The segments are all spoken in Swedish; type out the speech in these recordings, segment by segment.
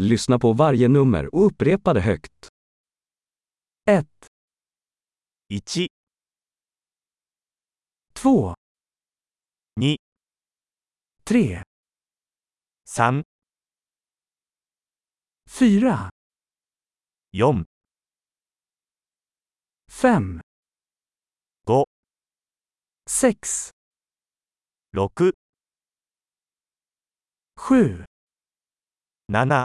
Lyssna på varje nummer och upprepa det högt. 1, 1、 2, 2、 3, 3、 4, 4、 5, 5 6, 6、 7, 7、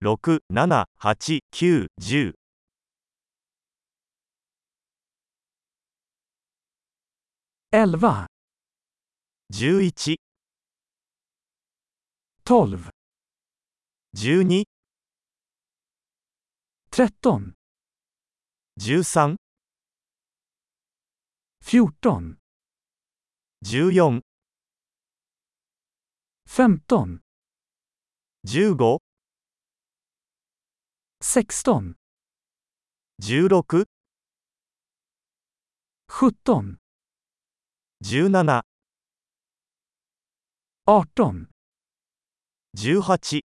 6、7、8、9、10、 11, 11、 12, 12、 13, 13、 14, 14、 15, 15、 16, 16、 17, 17、 18, 18、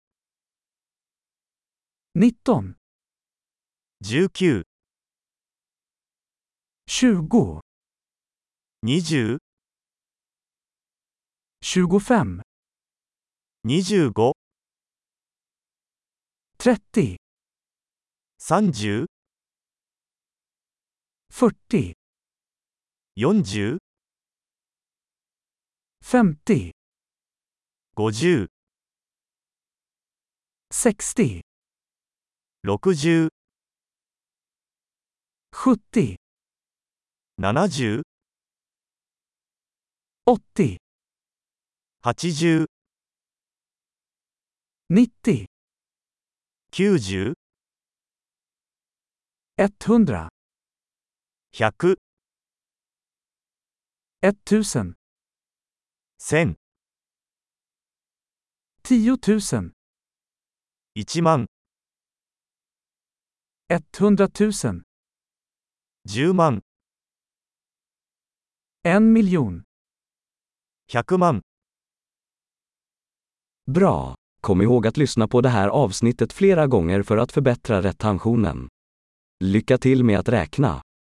19, 19、 20, 20、 25, 25、 30, 30、 40, 40、 50, 50、 60, 60、 70, 70、 80, 90, 80、90、 100, 100、 1000, 1000、 10 000, 1万、 100 000, 10万、 en miljon. 100万。 Bra! Kom ihåg att lyssna på det här avsnittet flera gånger för att förbättra retentionen. Lycka till med att räkna!